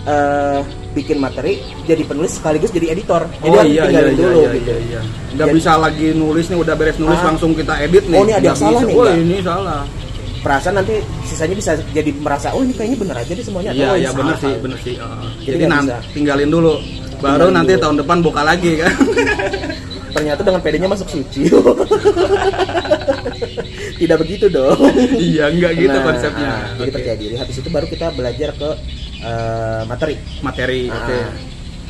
eh, bikin materi jadi penulis sekaligus jadi editor. Jadi Oh harus iya iya tinggalin iya dulu iya gitu. iya. iya. Nggak Jadi- bisa lagi nulis nih udah beres nulis Ah. langsung kita edit nih. Oh, ini ada Nggak yang salah bisa. nih, Wah, nggak? ini salah. Perasaan nanti sisanya bisa jadi merasa oh ini kayaknya bener aja deh semuanya. Iya Oh, ini iya benar salah. sih benar sih. Ah. Jadi Jadi nggak nanti bisa. tinggalin dulu. Baru Tinggalin nanti dulu. tahun depan buka lagi kan. Ternyata dengan pedenya masuk suci. Tidak begitu dong. iya nggak gitu Nah, konsepnya. ah, Jadi Oke. percaya diri. Habis itu baru kita belajar ke eh, materi. Materi. Ah, Oke.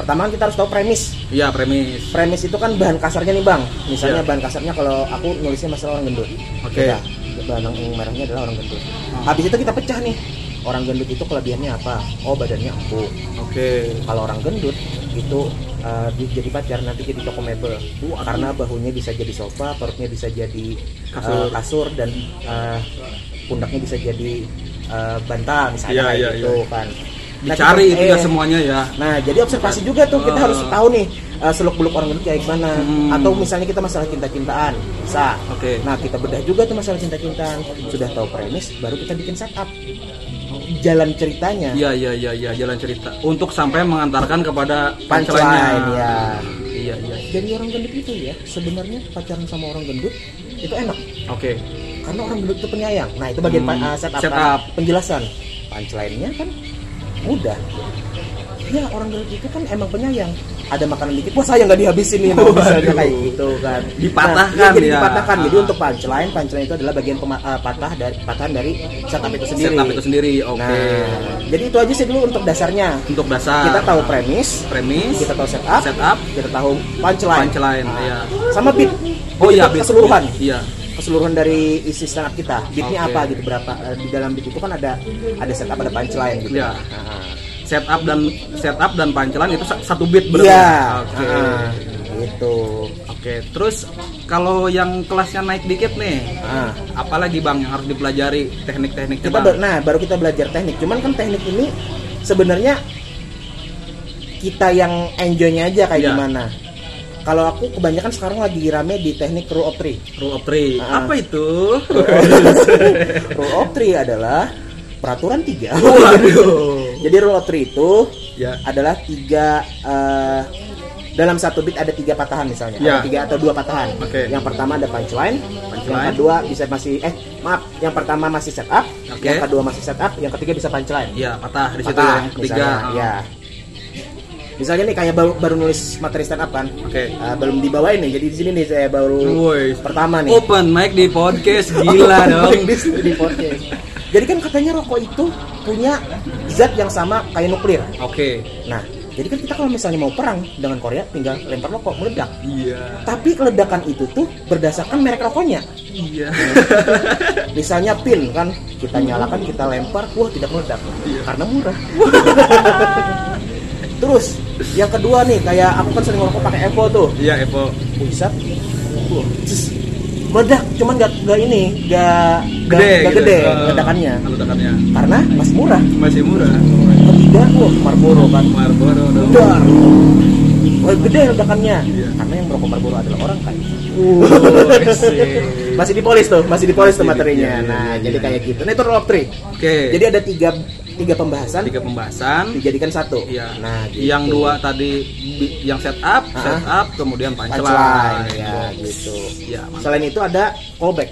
Pertama kan kita harus tahu premis. Iya premis. Premis itu kan bahan kasarnya nih bang. Misalnya Iya. bahan kasarnya kalau aku nulisnya masalah orang gendut. Oke. Hmm. Udah, Bahan yang merahnya adalah orang gendut. Habis itu kita pecah nih. Orang gendut itu kelebihannya apa? Oh badannya empuk. Oke. Kalau orang gendut itu eh, dia jadi pacar nanti jadi toko mebel. Karena bahunya bisa jadi sofa, perutnya bisa jadi eh, Kasur. kasur dan eh, pundaknya bisa jadi eh, bantal Iya, misalnya kayak iya, gitu kan. Nah, Dicari kita- itu ya eh, semuanya ya. Nah, jadi observasi juga tuh Ah. kita harus tahu nih seluk beluk orang gendut kayak gimana. Hmm. Atau misalnya kita masalah cinta-cintaan, bisa. Oke. Nah, kita bedah juga tuh masalah cinta-cintaan. Sudah tahu premis, baru kita bikin setup. Jalan ceritanya. Iya iya iya iya jalan cerita untuk sampai mengantarkan kepada Punchline, punchline-nya. ya. Iya iya. Jadi orang gendut itu ya, sebenarnya pacaran sama orang gendut itu enak. Oke. Karena orang gendut itu penyayang. Nah, itu bagian Hmm, pa- uh, setup, setup. kan. penjelasan. Punchline-nya kan mudah. Ya, orang gendut itu kan emang penyayang. Ada makanan dikit, wah saya nggak dihabisin nih. Waduh. misalnya kayak gitu kan. Dipatahkan Nah, iya, jadi ya. dipatahkan. Jadi Ah. untuk punchline, punchline itu adalah bagian pema- uh, patah dari patahan dari setup itu sendiri. Setup itu sendiri. Oke. Nah, jadi itu aja sih dulu untuk dasarnya. Untuk dasar. Kita tahu premis, premis, kita tahu Nah. setup, setup, kita tahu punchline. punchline. Nah, Iya. Sama beat. Oh iya, Beat beat. keseluruhan. Iya. Keseluruhan dari isi stand up kita. Beatnya Oke. apa gitu berapa eh, di dalam beat itu kan ada ada setup ada punchline gitu. Iya. Nah, Setup dan setup dan punchline itu sa- satu beat benar. Iya. Oke. Nah, gitu. Oke. Terus kalau yang kelasnya naik dikit nih, Nah, apalagi Bang yang harus dipelajari teknik-tekniknya kita Bang? ba- nah baru kita belajar teknik. Cuman kan teknik ini sebenarnya kita yang enjoy-nya aja kayak Iya. gimana. Kalau aku kebanyakan sekarang lagi rame di teknik rule of three. Rule of three. Ah. Apa itu? Rule of three adalah peraturan tiga. Waduh. Jadi rule of three itu Ya. adalah tiga eh, dalam satu beat ada tiga patahan misalnya, Ya. ada tiga atau dua patahan. Oke. Yang pertama ada punchline, yang Punchline. kedua bisa masih eh maaf, yang pertama masih setup, Oke. yang kedua masih setup, yang ketiga bisa punchline. Iya, patah di situ Patah, yang ketiga. misalnya, Ah. ya. Misalnya nih kayak baru, baru nulis materi stand up kan, Oke. Eh, belum dibawain nih, jadi di sini nih saya baru Woi. Oh, pertama nih. Open mic di podcast gila dong. Di- di podcast. Jadi kan katanya rokok itu punya zat yang sama kayak nuklir. Oke. Nah, Jadi kan kita kalau misalnya mau perang dengan Korea tinggal lempar rokok meledak. Iya. Tapi ledakan itu tuh berdasarkan merek rokoknya. Iya. Misalnya pin kan kita nyalakan, kita lempar, wah tidak meledak Iya. karena murah. Terus yang kedua nih kayak aku kan sering ngerokok pakai Evo tuh. Iya, Epo. Pusat. Wah, cis, meledak cuman gak, gak ini gak gak Gede, gak gitu. gede Eh, ledakannya Ledakannya. karena masih murah Masih murah. ketiga wah Marlboro kan Marlboro dong. Dar. Wah, gede ledakannya Iya. Oh, karena yang merokok Marlboro adalah orang kan Wuh, asik. masih dipolis tuh masih dipolis tuh Masih di- materinya iya, iya, nah iya, jadi iya. kayak gitu nah itu rule of three Oke. jadi ada tiga tiga pembahasan tiga pembahasan. dijadikan satu Iya. nah gitu. Yang dua tadi bi- yang setup, Ah. setup, kemudian Punchline, punchline. ya gitu Iya, mantap. selain itu ada callback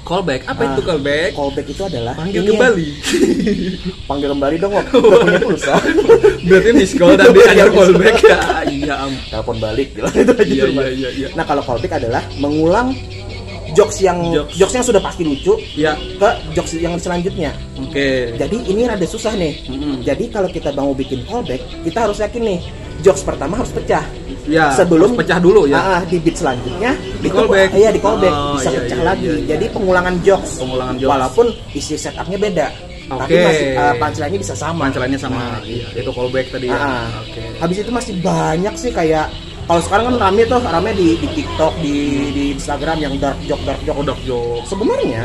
Callback, apa Ah. itu callback? callback itu adalah Panggil ini yang- kembali. panggil kembali dong Wak. Gak punya pulsa Berarti miss call dan dia ajar callback ya. Iya, am. telepon balik jelas itu aja Iya, cuma. iya, iya, iya. nah kalau callback adalah mengulang jokes yang Jokes. jokes. yang sudah pasti lucu Iya. ke jokes yang selanjutnya Oke. jadi ini rada susah nih Mm-mm. jadi kalau kita mau bikin callback kita harus yakin nih jokes pertama harus pecah Ya, sebelum harus pecah dulu ya. Ah, ah, di beat selanjutnya Di itu- callback. iya di callback Oh, bisa iya, pecah iya, lagi iya, iya. jadi pengulangan jokes Pengulangan jokes. walaupun isi setupnya beda tapi Oke. masih ah, punchline-nya bisa sama Pancelannya sama Nah, iya, itu callback tadi ya. Ah, Oke. Habis itu masih banyak sih kayak kalau sekarang kan rame tuh, rame di, di TikTok, di, di Instagram yang dark joke, dark joke, Kodok jokes. Sebenarnya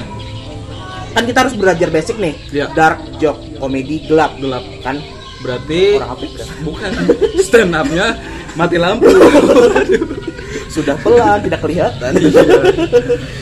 kan kita harus belajar basic nih, Iya. dark joke, komedi gelap, Gelap. kan Berarti orang apik kan? bukan stand up-nya mati lampu. sudah pelan, tidak kelihatan. Iya.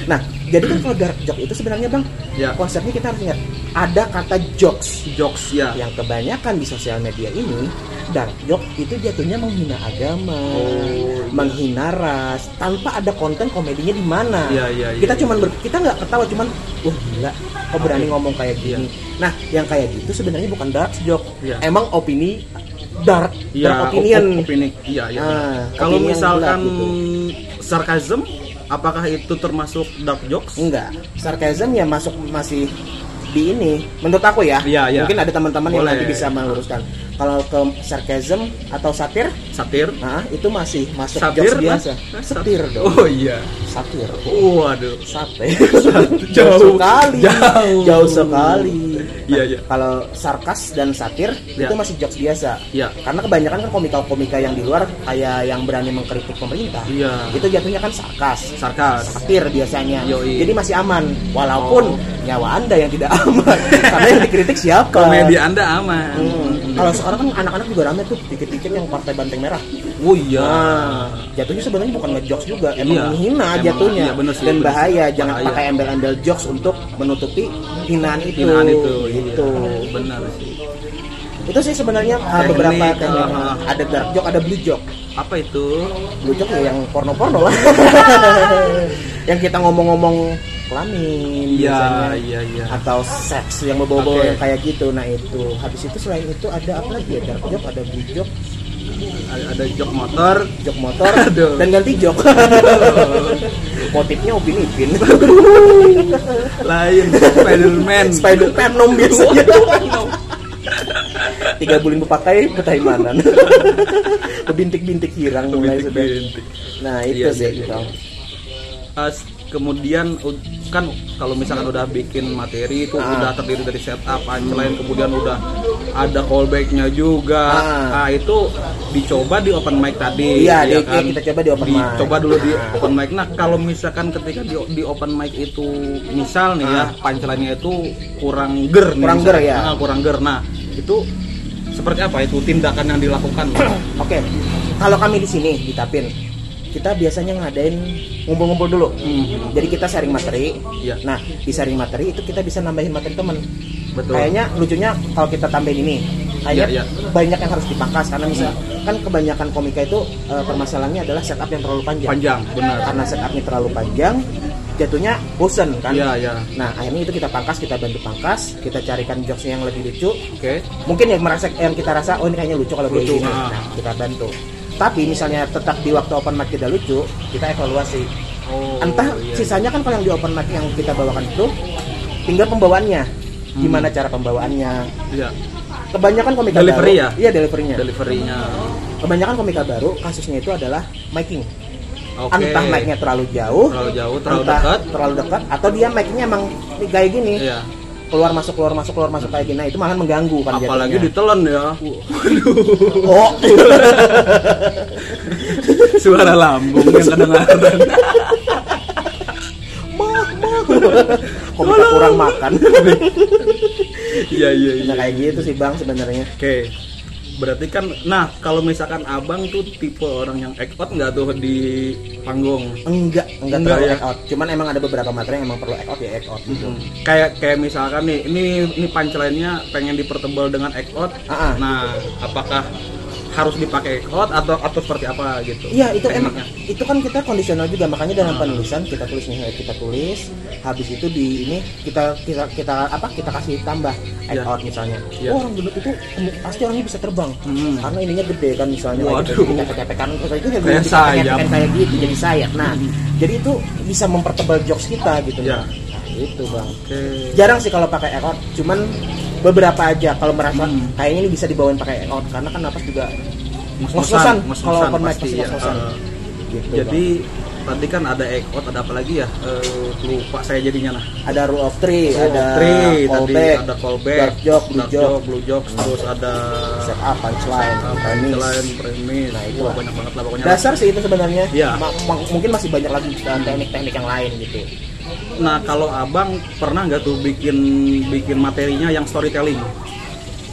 Nah, jadi kan kalau dark joke itu sebenarnya bang, Iya. konsepnya kita harus ingat ada kata jokes jokes ya. yang kebanyakan di sosial media ini dark joke itu jatuhnya menghina agama, Oh, iya. menghina ras tanpa ada konten komedinya di mana. Iya, iya, iya, kita iya. cuman ber- kita nggak ketawa cuman wah gila kok berani ngomong kayak gini. Nah, yang kayak gitu sebenarnya bukan dark joke. Iya. Emang opini dark, Iya, dark opinion. op- opini. Iya, iya. Ah, benar. Kalau opini yang misalkan gelap gitu. sarkasm, apakah itu termasuk dark jokes? Enggak, sarcasm ya masuk masih di ini. Menurut aku ya. Iya, iya. Mungkin ada teman-teman yang Boleh. nanti bisa meluruskan. Kalau ke sarcasm atau satir Satir? Nah, itu masih masuk Satir? jokes biasa. Mas? Setir dong. Oh iya. Satir. Waduh. Sate. Jauh. sekali. Jauh. Jauh sekali. Iya, Nah, iya. Kalau sarkas dan satir Iya. itu masih jokes biasa. Iya. Karena kebanyakan kan komika-komika yang di luar kayak yang berani mengkritik pemerintah. Iya. Itu jatuhnya kan sarkas. Sarkas. Satir biasanya. Yoi. Jadi masih aman walaupun Oh. nyawa Anda yang tidak aman. Karena yang dikritik siapa? Komedi Anda aman. Hmm. Kalau sekarang kan anak-anak juga rame tuh dikit-dikit yang partai banteng merah. Oh iya. Nah, jatuhnya sebenarnya bukan ngejokes juga, emang Iya. menghina Emang, jatuhnya iya, bener sih, dan bener sih. bahaya. Jangan Bahaya. pakai embel-embel jokes untuk menutupi hinaan itu. Hinaan itu, Gitu. iya. benar sih. Itu sih sebenarnya uh, Teknik, beberapa teknik. uh, ada dark joke, ada blue joke. Apa itu? Blue joke ya yang porno-porno lah. yang kita ngomong-ngomong kelamin biasanya. Iya, iya, iya. atau seks yang membawa-bawa Oke. yang kayak gitu nah itu habis itu selain itu ada apa lagi ya dark joke ada blue joke Ada ada jok motor. jok motor Aduh. dan ganti jok motifnya Upin Ipin Lain Spiderman. Spider Venom biasanya tiga bulan berpakai petaimanan kebintik-bintik hirang mulai sudah Bintik-bintik. nah itu Iya, sih iya, itu Eh, kemudian u- kan kalau misalkan udah bikin materi itu Ah. udah terdiri dari setup, punchline, kemudian udah ada callbacknya juga. Ah. Ah, itu dicoba di open mic tadi. ya kan? Iya, di- kita coba di open mic. Dicoba dulu di open mic. Nah, kalau misalkan ketika di, di open mic itu misal nih ya, punchline-nya itu kurang ger nih. Ah. Kurang ger ya. Ah, kurang ger. Nah, itu seperti apa itu tindakan yang dilakukan? oke kalau kami di sini di Tapin kita biasanya ngadain ngumpul-ngumpul dulu Hmm. jadi kita sharing materi Iya. nah di sharing materi itu kita bisa nambahin materi temen Betul. kayaknya lucunya kalau kita tambahin ini kayaknya Iya, Hmm. iya. banyak yang harus dipangkas karena misal kan kebanyakan komika itu eh, permasalahannya adalah setup yang terlalu panjang Panjang, benar. karena setupnya terlalu panjang jatuhnya bosen kan Iya, iya. nah akhirnya itu kita pangkas kita bantu pangkas kita carikan jokesnya yang lebih lucu Oke. mungkin yang merasa yang kita rasa oh ini kayaknya lucu kalau kayak Lucu, gini ah. nah kita bantu tapi misalnya tetap di waktu open mic tidak lucu kita evaluasi Oh, entah iya. sisanya kan kalau yang di open mic yang kita bawakan itu tinggal pembawaannya gimana cara pembawaannya Iya. kebanyakan komika Delivery baru- ya? iya deliverynya Deliverynya. kebanyakan komika baru kasusnya itu adalah making Oke. entah mic-nya terlalu jauh Terlalu jauh, terlalu entah dekat. terlalu dekat atau dia mic-nya emang kayak gini Iya. keluar masuk keluar masuk keluar masuk kayak gini nah itu malah mengganggu kan Apalagi jatuhnya. ditelan ya. oh Suara lambung yang kedengaran. mah mah komika kurang makan Iya iya iya. nah kayak gitu sih bang sebenarnya Oke. Berarti kan nah kalau misalkan Abang tuh tipe orang yang act out nggak tuh di panggung? enggak enggak, Enggak, terlalu ya. act out cuman emang ada beberapa materi yang emang perlu act out ya act out Hmm. gitu Kayak kayak misalkan nih ini ini punchline-nya pengen dipertebal dengan act out. Ah, ah. Nah, apakah harus dipakai act out atau atau seperti apa gitu? Iya itu emang Tekniknya. itu kan kita kondisional juga makanya dalam penulisan kita tulis nih kita tulis habis itu di ini kita kita kita apa kita kasih tambah add Iya. out misalnya Iya. oh, orang gendut itu em- pasti orangnya bisa terbang Hmm. karena ininya gede kan misalnya lagi Waduh. kita ketepekan kanan terus itu Kayak kita pengen- sayap. Hmm. pengen kayak gitu jadi sayap nah jadi itu bisa mempertebal jokes kita gitu Iya. nah. nah itu bang Oke. jarang sih kalau pakai ekor cuman beberapa aja kalau merasa Hmm. kayaknya ini bisa dibawain pakai ekor karena kan napas juga ngos-ngosan kalau ngos-ngosan open mic pasti pasti ya. ngos-ngosan Eh, gitu jadi tadi kan ada act out, ada apa lagi ya? Eh, lupa saya jadinya nah. Bang. ada rule of three Rule of Iya, ada three, tadi callback ada callback, dark dark joke blue joke Hmm. Nah, joke, blue jokes, terus ada set up punchline premise. selain premis, Nah, itu Wah, lah. banyak banget lah pokoknya. dasar sih itu sebenarnya Iya. Ma- ma- mungkin masih banyak lagi uh, teknik-teknik yang lain gitu Nah, kalau Abang pernah nggak tuh bikin bikin materinya yang storytelling?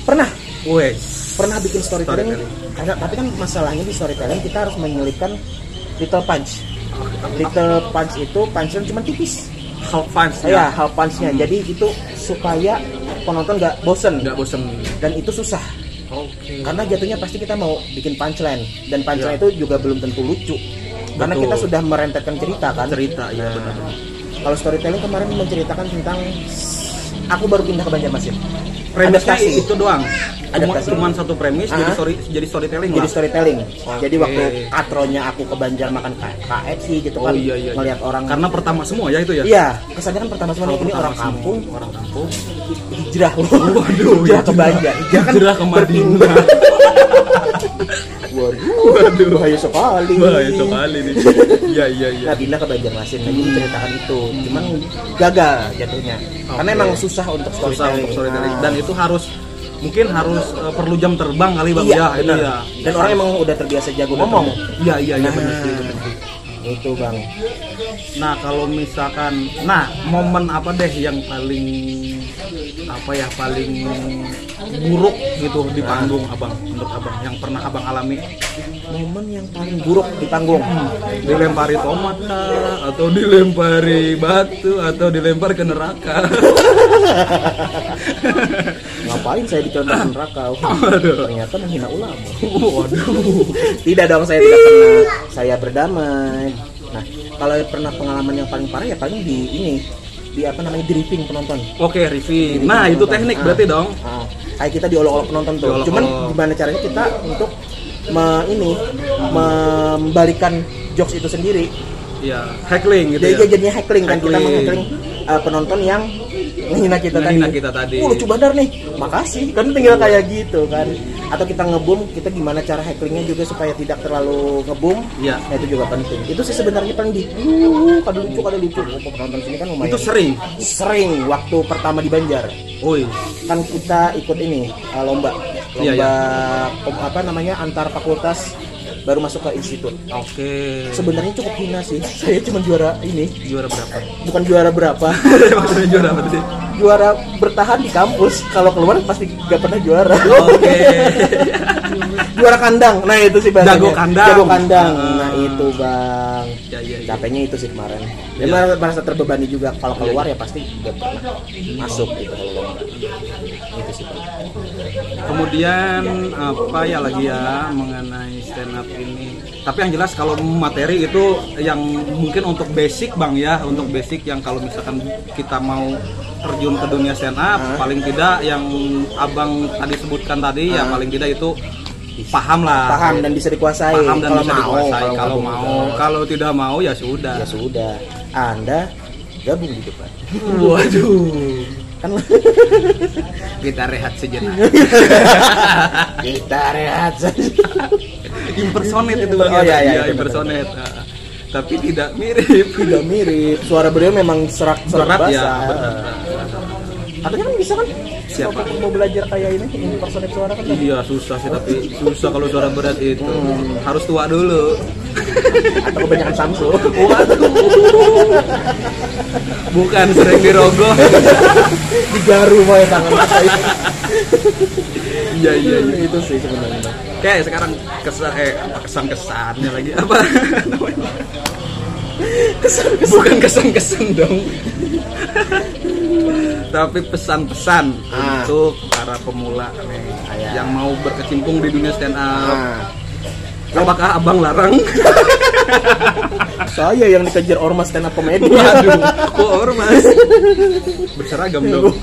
pernah Wes. pernah bikin storytelling, Storytelling. Karena, tapi kan masalahnya di storytelling kita harus menyelipkan little Ah, punch little punch itu punchnya cuma tipis How fans ya hal punchnya jadi itu supaya penonton nggak bosen Hmm. Nggak bosen. dan itu susah Oke. karena jatuhnya pasti kita mau bikin punchline dan punchline itu juga belum tentu lucu karena Iya. Betul. kita sudah merentetkan cerita kan Cerita, iya, benar. kalau storytelling kemarin menceritakan tentang aku baru pindah ke Banjarmasin Premisnya Adaptasi. itu doang. Cuma, Adaptasi. cuman satu premis jadi Ah. story jadi storytelling jadi lah. storytelling jadi Oke. waktu katronya aku ke Banjar makan K- KFC gitu Oh kan iya iya. melihat orang Karena pertama semua ya itu ya. iya kesannya kan pertama Kalau semua ini pertama orang semua, kampung orang kampung. iya hijrah Waduh, hijrah ke Banjar hijrah kan Hijrah ke Madinah. waduh waduh bahaya sekali Wah, itu kali nih. Iya, iya, iya. Nah, pindah ke Banjarmasin lagi menceritakan itu. Cuman gagal jatuhnya. Karena Oke. emang susah untuk Susah storytelling. untuk storytelling Nah, dan itu harus mungkin harus eh, perlu jam terbang kali Bang iya, ya. benar. Dan orang emang udah terbiasa jago ngomong. Iya, iya, iya Nah. benar sih, benar sih. Itu, Bang. Nah kalau misalkan, nah momen apa deh yang paling apa ya paling buruk gitu di panggung abang menurut abang yang pernah abang alami Momen yang paling buruk di panggung. dilempari tomat kah? atau dilempari batu atau dilempar ke neraka Ngapain saya dicontoh neraka? Wah, Aduh. Ternyata menghina ulama. waduh Tidak dong, saya tidak pernah. Saya berdamai. Nah, kalau pernah pengalaman yang paling parah ya paling di ini di apa namanya dripping penonton. oke Rivi nah itu teknik berarti dong Ah, kayak kita diolok-olok penonton tuh. Diolok-olok. Cuman gimana caranya kita untuk me- ini membalikan jokes itu sendiri. ya heckling gitu Jadi ya jadinya heckling kan kita Heckling. menghackling uh, penonton yang menghina kita Menghina tadi. kita tadi. Wah, lucu bandar nih. Makasih. Kan tinggal kayak gitu kan. Atau kita ngebum, kita gimana cara hacklingnya juga supaya tidak terlalu ngebum. Iya. Nah, itu juga penting. Itu sih sebenarnya paling di uh, kada lucu kada lucu. Oh, penonton sini kan lumayan. itu sering sering waktu pertama di Banjar oi kan kita ikut ini uh, lomba lomba Iya, kom- apa namanya antar fakultas baru masuk ke institut oke sebenarnya cukup hina sih saya cuma juara ini juara berapa bukan juara berapa maksudnya juara apa tadi juara bertahan di kampus kalau keluar pasti gak pernah juara oke juara kandang nah itu sih bahasanya. Jago kandang. jago kandang Ah. nah itu bang ya ya, ya. capeknya itu sih kemarin Iya. ya, merasa- merasa terbebani juga kalau keluar ya pasti gak pernah masuk gitu kalau lomba. itu sih bang Kemudian apa ya lagi ya mengenai stand up ini. Tapi yang jelas kalau materi itu yang mungkin untuk basic Bang ya, untuk basic yang kalau misalkan kita mau terjun ke dunia stand up paling tidak yang Abang tadi sebutkan tadi ya paling tidak itu paham lah. paham dan bisa dikuasai Paham dan kalau bisa mau dikuasai kalau nggak mau. Kalau tidak mau ya sudah. ya sudah anda gabung di depan Waduh. kan Kita rehat sejenak. kita rehat saja impersonate itu bang Oh, iya, iya, Iya, betul, impersonate. Ah. tapi tidak mirip. Tidak mirip. Suara beliau memang serak serak Berat basah. ya, benar. Katanya kan bisa kan? Siapa? Waktu Mau belajar kayak ini, ini personik suara kan? Iya susah sih tapi susah kalau suara berat itu harus tua dulu. Atau kebanyakan Samsung. Waduh. Bukan sering dirogoh. Digaru mau tangan kita itu. Iya iya iya. Itu sih sebenarnya. Oke sekarang kesan eh apa kesan kesannya lagi apa namanya? Bukan kesan kesan dong. Tapi pesan-pesan Ah. untuk para pemula nih Iya. yang mau berkecimpung di dunia stand up. Nah, Apakah abang larang? saya yang dikejar ormas stand up comedy. Waduh, kok ormas? Berseragam dong.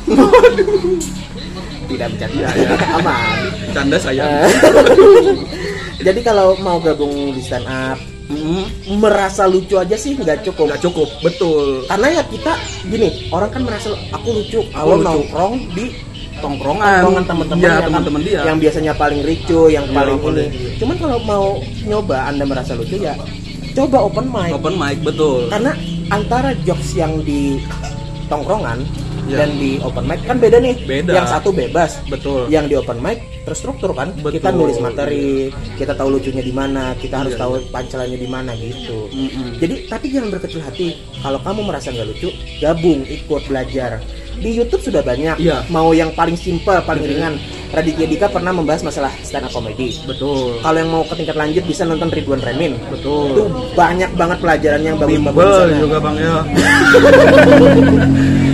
Tidak bercanda. Iya, iya. Aman. Canda saya. Eh, Jadi kalau mau gabung di stand up, merasa lucu aja sih nggak cukup. Mm, Nggak cukup, betul. karena ya kita gini orang kan merasa aku lucu Aku kalau lucu. nongkrong di Tongkrongan, tongkrongan teman-teman ya, yang- teman-teman dia. yang biasanya paling ricu yang Iya, paling ini boleh. cuman kalau mau nyoba anda merasa lucu ya coba open mic Open mic, betul. karena antara jokes yang di tongkrongan Iya. dan di open mic kan beda nih Beda. yang satu bebas Betul. yang di open mic terstruktur kan Betul. Iya. kita nulis materi kita tahu lucunya di mana kita harus tahu pancelannya di mana gitu Mm-mm. jadi tapi jangan berkecil hati kalau kamu merasa nggak lucu gabung ikut belajar di YouTube sudah banyak Iya. mau yang paling simple paling ringan Raditya Dika pernah membahas masalah stand up comedy Betul. kalau yang mau ke tingkat lanjut bisa nonton Ridwan Remin itu Betul. banyak banget pelajaran yang bagus-bagus di Bimbel sana. juga Bang ya.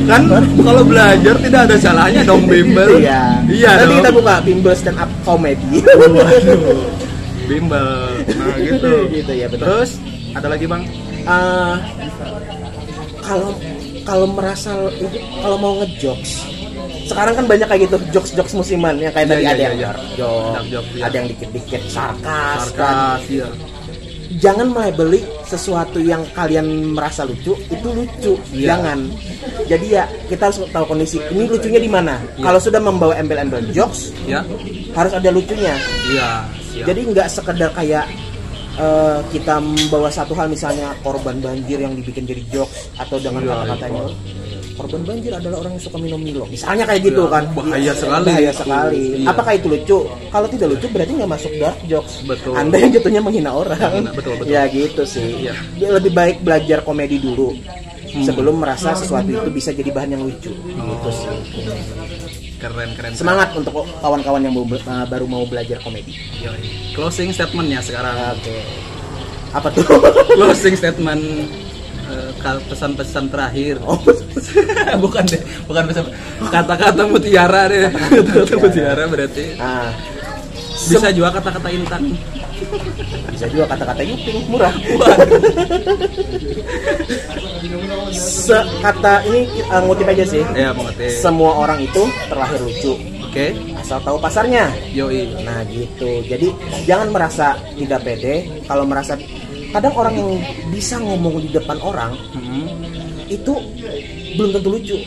kan kalau belajar tidak ada salahnya dong bimbel. Iya. Iya Nanti dong. kita buka bimbel stand up comedy. Bimbel. Nah, gitu. Gitu, ya, benar. Terus ada lagi Bang? Ah, kalau kalau merasa kalau mau ngejokes sekarang kan banyak kayak gitu jokes-jokes musiman yang kayak Iya, tadi iya, ada iya, yang iya. dark Dark joke, joke, iya. ada yang dikit-dikit sarkas, kan. Sarkas ya. Jangan melebeli sesuatu yang kalian merasa lucu itu lucu, Iya. jangan. Jadi ya kita harus tahu kondisi. Ini lucunya di mana? Kalau sudah membawa embel-embel jokes Ya. harus ada lucunya. Iya. siap. Jadi nggak sekedar kayak eh, kita membawa satu hal misalnya korban banjir yang dibikin jadi jokes atau dengan Iya, kata-katanya korban banjir adalah orang yang suka minum Milo. Misalnya kayak Iya, gitu kan. bahaya sekali. Bahaya Itu, sekali. iya. Apakah itu lucu? Kalau tidak lucu berarti nggak masuk dark jokes. Betul. Anda yang jatuhnya menghina orang. Menghina, betul, betul. Ya gitu sih. Iya. Hmm. Ya, Lebih baik belajar komedi dulu. Sebelum merasa sesuatu itu bisa jadi bahan yang lucu, gitu sih. Oh. keren keren. Semangat untuk kawan-kawan yang mau be- eh, baru mau belajar komedi. Yoi. Closing statementnya sekarang. Oke. Apa tuh? closing statement eh, ka- pesan-pesan terakhir Oh, bukan deh bukan pesan kata-kata mutiara deh kata-kata mutiara berarti ah, bisa juga kata-kata intan bisa juga kata-kata Yuping murah. Se kata ini eh, ngutip aja sih. ya mengerti Semua orang itu terlahir lucu oke asal tahu pasarnya. yoi Nah gitu. Jadi jangan merasa tidak pede kalau merasa kadang orang yang bisa ngomong di depan orang Mhm. itu belum tentu lucu.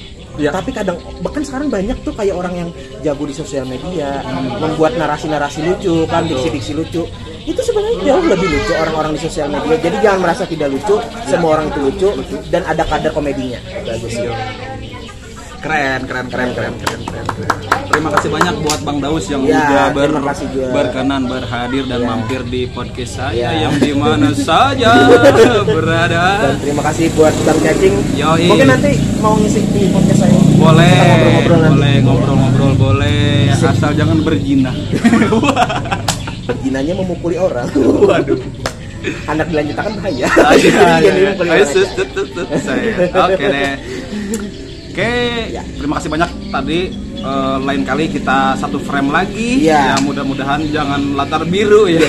Iya. Tapi kadang bahkan sekarang banyak tuh kayak orang yang jago di sosial media membuat narasi-narasi lucu kan diksi-diksi lucu. Itu sebenarnya jauh lebih lucu orang-orang di sosial media. Jadi jangan merasa tidak lucu, Iya. semua orang itu lucu dan ada kadar komedinya. Bagus sih. keren keren keren keren keren keren keren. terima kasih banyak buat bang Daus yang Ya, udah ber- terima kasih juga. berkenan berhadir dan Ya. mampir di podcast saya Ya. yang di mana saja berada Dan terima kasih buat Bang Cacing. Yoi. Mungkin nanti mau ngisi di podcast saya. boleh Kita ngobrol-ngobrol nanti. boleh ngobrol-ngobrol boleh asal jangan berjinah Berjinanya memukuli orang. waduh Ah, iya, Anak dilanjutkan bahaya. Jadi jangan dimukuli orang aja. Oke deh. Oke, Ya. terima kasih banyak tadi. eh, lain kali kita satu frame lagi. Ya. Ya mudah-mudahan jangan latar biru ya.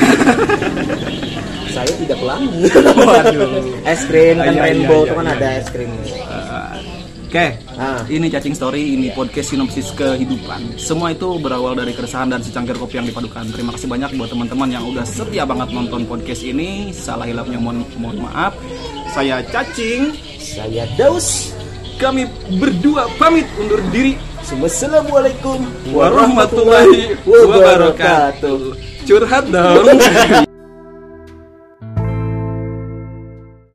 saya tidak pelangi Waduh. es krim Iya, kan iya, iya, rainbow itu kan iya, ada iya. es krim Eh, Oke, Ah. ini cacing story, ini podcast sinopsis kehidupan. Semua itu berawal dari keresahan dan secangkir kopi yang dipadukan. Terima kasih banyak buat teman-teman yang udah setia banget nonton podcast ini. Salah hilapnya mohon, mohon maaf. Saya cacing. saya daus Kami berdua pamit undur diri. Assalamualaikum warahmatullahi wabarakatuh. Curhat dong.